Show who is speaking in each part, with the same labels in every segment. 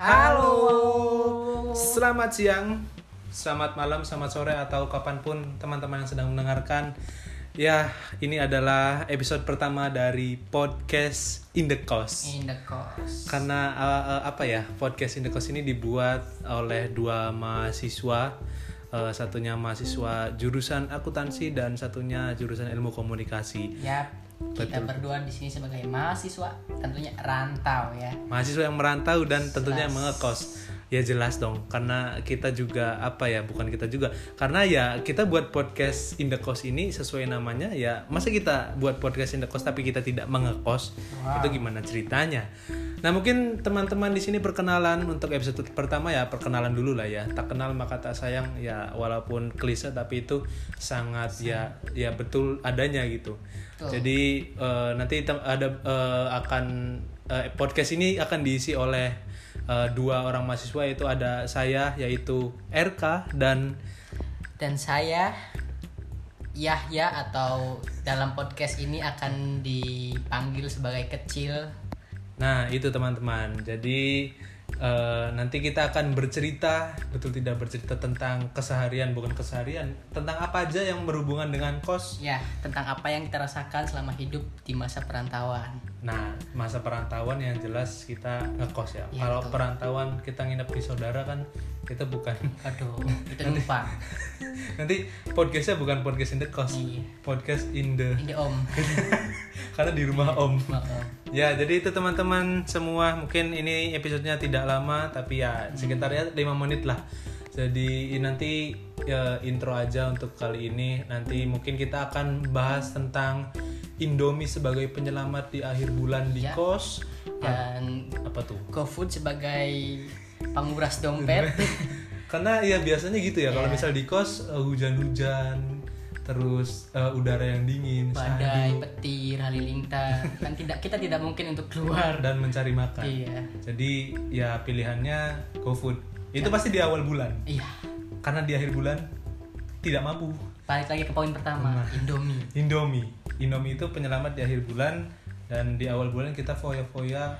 Speaker 1: Halo. Selamat siang, selamat malam, selamat sore atau kapanpun teman-teman yang sedang mendengarkan. Ya, ini adalah episode pertama dari podcast In the Cost.
Speaker 2: In the course.
Speaker 1: Karena uh, uh, apa ya, podcast In the Cost ini dibuat oleh dua mahasiswa. Uh, satunya mahasiswa jurusan akuntansi dan satunya jurusan ilmu komunikasi.
Speaker 2: Yap. Ya, Kita berdua di sini sebagai mahasiswa, tentunya rantau ya.
Speaker 1: mahasiswa yang merantau dan tentunya
Speaker 2: Jelas.
Speaker 1: mengekos ya jelas dong karena kita juga apa ya bukan kita juga karena ya kita buat podcast in the cost ini sesuai namanya ya masa kita buat podcast in the cost tapi kita tidak mengekos
Speaker 2: Wow.
Speaker 1: itu gimana ceritanya nah mungkin teman-teman di sini perkenalan untuk episode pertama ya perkenalan dulu lah ya tak kenal maka tak sayang ya walaupun klise tapi itu sangat ya ya betul adanya gitu
Speaker 2: Betul.
Speaker 1: jadi eh, nanti tem- ada eh, akan eh, podcast ini akan diisi oleh eh, dua orang mahasiswa yaitu ada saya yaitu RK dan
Speaker 2: Dan saya Yahya atau dalam podcast ini akan dipanggil sebagai kecil.
Speaker 1: nah itu teman-teman. Jadi eh, nanti kita akan bercerita betul tidak bercerita tentang keseharian bukan keseharian tentang apa aja yang berhubungan dengan kos.
Speaker 2: Ya, tentang apa yang kita rasakan selama hidup di masa perantauan.
Speaker 1: Nah masa perantauan yang jelas kita ngekos ya.
Speaker 2: Iya,
Speaker 1: Kalau
Speaker 2: betul.
Speaker 1: perantauan kita nginep di saudara kan kita bukan
Speaker 2: Aduh, itu numpang.
Speaker 1: nanti podcastnya bukan podcast in the cost
Speaker 2: Iya.
Speaker 1: podcast in the
Speaker 2: Ini Om.
Speaker 1: karena di rumah om
Speaker 2: Maaf, Om.
Speaker 1: ya jadi itu teman-teman semua mungkin ini episodenya tidak lama tapi ya sekitar ya 5 menit lah jadi nanti ya, intro aja untuk kali ini nanti mungkin kita akan bahas tentang Indomie sebagai penyelamat di akhir bulan di
Speaker 2: Ya.
Speaker 1: kos
Speaker 2: Dan
Speaker 1: apa tuh
Speaker 2: GoFood sebagai penguras dompet.
Speaker 1: karena ya biasanya gitu ya kalau misal di kos eh, hujan-hujan terus eh, udara yang dingin
Speaker 2: badai,
Speaker 1: syahdu,
Speaker 2: petir, halilintar. Kan tidak kita tidak mungkin untuk keluar.
Speaker 1: dan mencari makan
Speaker 2: Iya.
Speaker 1: Jadi ya pilihannya GoFood. Itu
Speaker 2: Ya.
Speaker 1: pasti di awal bulan.
Speaker 2: Iya.
Speaker 1: Karena di akhir bulan tidak mampu.
Speaker 2: Balik lagi ke poin pertama, Indomie.
Speaker 1: Indomie. Indomie itu penyelamat di akhir bulan dan di awal bulan kita foya-foya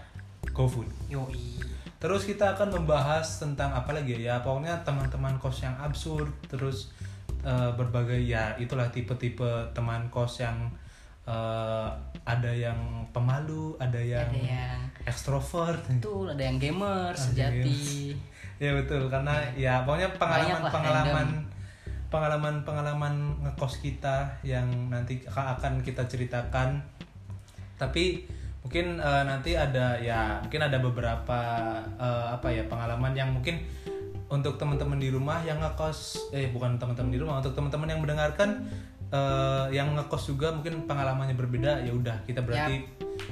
Speaker 1: GoFood.
Speaker 2: Yoi.
Speaker 1: Terus kita akan membahas tentang apa lagi ya? Ya, Pokoknya teman-teman kos yang absurd, terus eh, berbagai ya itulah tipe-tipe teman kos yang eh, ada yang pemalu, ada yang,
Speaker 2: Ada ya. yang
Speaker 1: ekstrovert.
Speaker 2: betul, ada yang gamer sejati.
Speaker 1: Ya betul karena ya pokoknya
Speaker 2: Iya. Banyak lah,
Speaker 1: pengalaman-pengalaman pengalaman-pengalaman ngekos kita yang nanti a- akan kita ceritakan. Tapi mungkin eh, nanti ada ya mungkin ada beberapa eh, apa ya pengalaman yang mungkin untuk teman-teman di rumah yang ngekos eh bukan teman-teman di rumah untuk teman-teman yang mendengarkan eh, yang ngekos juga mungkin pengalamannya berbeda ya udah kita berarti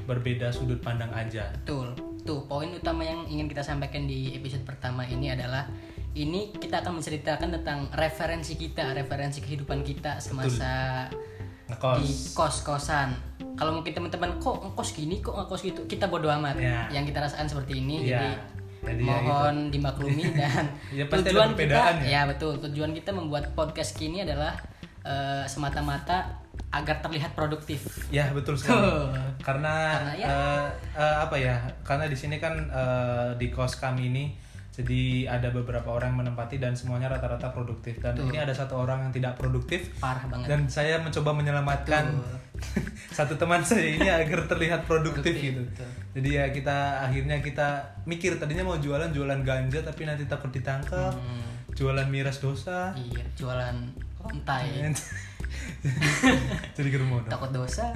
Speaker 1: berbeda sudut pandang aja.
Speaker 2: Betul. Tuh, poin utama yang ingin kita sampaikan di episode pertama ini adalah ini kita akan menceritakan tentang referensi kita, referensi kehidupan kita semasa
Speaker 1: Ngekos.
Speaker 2: di kos-kosan. Kalau mungkin teman-teman kok ngekos gini, kok ngekos gitu, kita bodo amat.
Speaker 1: Ya.
Speaker 2: Yang kita rasakan seperti ini jadi
Speaker 1: Iya. Jadi ya itu.
Speaker 2: mohon dimaklumi dan
Speaker 1: Ya, pasti ada
Speaker 2: tujuan
Speaker 1: perbedaan
Speaker 2: kita
Speaker 1: ya.
Speaker 2: betul tujuan kita membuat podcast kini adalah eh, semata-mata agar terlihat produktif
Speaker 1: Ya betul sekali.
Speaker 2: Tuh.
Speaker 1: Karena,
Speaker 2: Karena ya.
Speaker 1: eh, eh, apa ya? Karena di sini kan eh, di kos kami ini, jadi ada beberapa orang yang menempati dan semuanya rata-rata produktif. Dan ini ada satu orang yang tidak produktif.
Speaker 2: parah banget
Speaker 1: Dan saya mencoba menyelamatkan satu teman saya ini agar terlihat produktif,
Speaker 2: Produktif,
Speaker 1: gitu.
Speaker 2: betul.
Speaker 1: Jadi ya kita akhirnya kita mikir tadinya mau jualan jualan ganja tapi nanti takut ditangkap.
Speaker 2: Hmm.
Speaker 1: Jualan miras dosa.
Speaker 2: iya jualan lontai
Speaker 1: jadi germono.
Speaker 2: takut dosa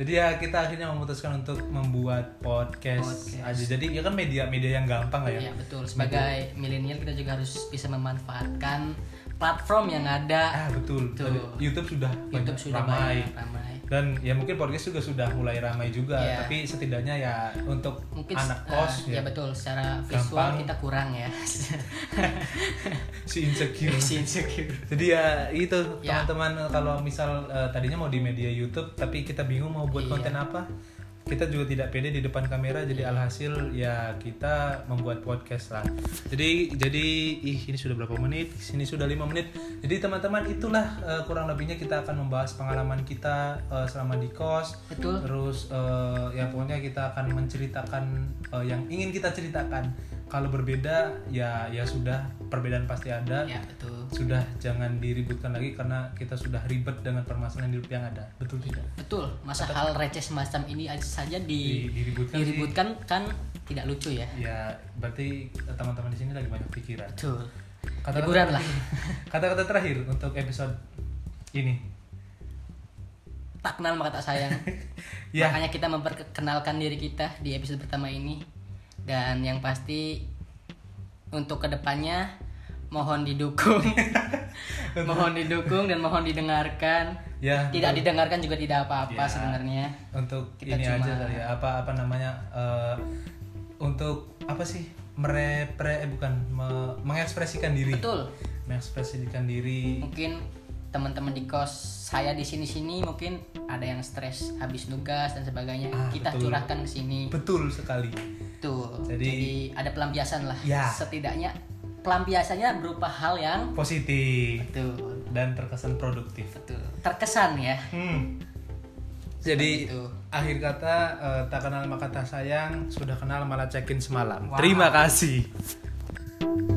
Speaker 1: Jadi ya kita akhirnya memutuskan untuk membuat podcast,
Speaker 2: Podcast.
Speaker 1: aja. Jadi ya kan media-media yang gampang lah ya.
Speaker 2: Iya betul sebagai milenial kita juga harus bisa memanfaatkan platform yang ada
Speaker 1: Ah betul.
Speaker 2: Betul.
Speaker 1: Tadi YouTube sudah
Speaker 2: YouTube
Speaker 1: banyak
Speaker 2: sudah
Speaker 1: ramai.
Speaker 2: banyak ramai
Speaker 1: Dan ya mungkin podcast juga sudah mulai ramai juga.
Speaker 2: Iya.
Speaker 1: Tapi setidaknya ya untuk
Speaker 2: mungkin
Speaker 1: anak
Speaker 2: eh,
Speaker 1: kos
Speaker 2: ya.
Speaker 1: ya,
Speaker 2: betul secara visual
Speaker 1: Gampang.
Speaker 2: kita kurang ya
Speaker 1: si insecure.
Speaker 2: Si insecure.
Speaker 1: Jadi ya itu
Speaker 2: Ya.
Speaker 1: teman-teman kalau misal eh, tadinya mau di media YouTube tapi kita bingung mau buat
Speaker 2: Iya.
Speaker 1: konten apa. Kita juga tidak pede di depan kamera jadi alhasil ya kita membuat podcast lah. Jadi jadi ih ini sudah berapa menit? Sini sudah lima menit. Jadi teman-teman itulah eh, kurang lebihnya kita akan membahas pengalaman kita eh, selama di kos.
Speaker 2: betul
Speaker 1: Terus eh, ya pokoknya kita akan menceritakan eh, yang ingin kita ceritakan kalau berbeda ya ya sudah perbedaan pasti ada
Speaker 2: ya betul
Speaker 1: sudah jangan diributkan lagi karena kita sudah ribet dengan permasalahan hidup yang ada betul tidak
Speaker 2: betul masa hal receh semacam ini aja saja di,
Speaker 1: Di- diributkan sih.
Speaker 2: diributkan kan tidak lucu ya
Speaker 1: ya berarti teman-teman di sini lagi banyak pikiran
Speaker 2: betul
Speaker 1: Kata-kata
Speaker 2: Hiburan lah.
Speaker 1: terakhir- kata-kata terakhir untuk episode ini
Speaker 2: tak kenal maka tak sayang
Speaker 1: Ya.
Speaker 2: makanya kita memperkenalkan diri kita di episode pertama ini dan yang pasti untuk kedepannya mohon didukung mohon didukung dan mohon didengarkan
Speaker 1: ya
Speaker 2: tidak didengarkan juga tidak apa-apa
Speaker 1: Ya.
Speaker 2: sebenarnya
Speaker 1: untuk
Speaker 2: Kita
Speaker 1: ini
Speaker 2: cuma-
Speaker 1: aja kali ya apa apa namanya eh, untuk apa sih merepre eh, bukan me- mengekspresikan diri
Speaker 2: betul
Speaker 1: mengekspresikan diri
Speaker 2: mungkin teman-teman di kos saya di sini-sini mungkin ada yang stres habis nugas dan sebagainya
Speaker 1: Ah,
Speaker 2: kita
Speaker 1: betul.
Speaker 2: curahkan ke sini
Speaker 1: betul sekali
Speaker 2: Tuh.
Speaker 1: Jadi-
Speaker 2: Jadi, ada pelampiasan lah.
Speaker 1: Ya.
Speaker 2: Setidaknya pelampiasannya berupa hal yang
Speaker 1: positif
Speaker 2: betul,
Speaker 1: dan terkesan produktif
Speaker 2: betul. Terkesan ya.
Speaker 1: Hmm. jadi
Speaker 2: Seperti itu.
Speaker 1: akhir kata eh, tak kenal maka tak sayang sudah kenal malah cekin semalam
Speaker 2: Wah.
Speaker 1: terima kasih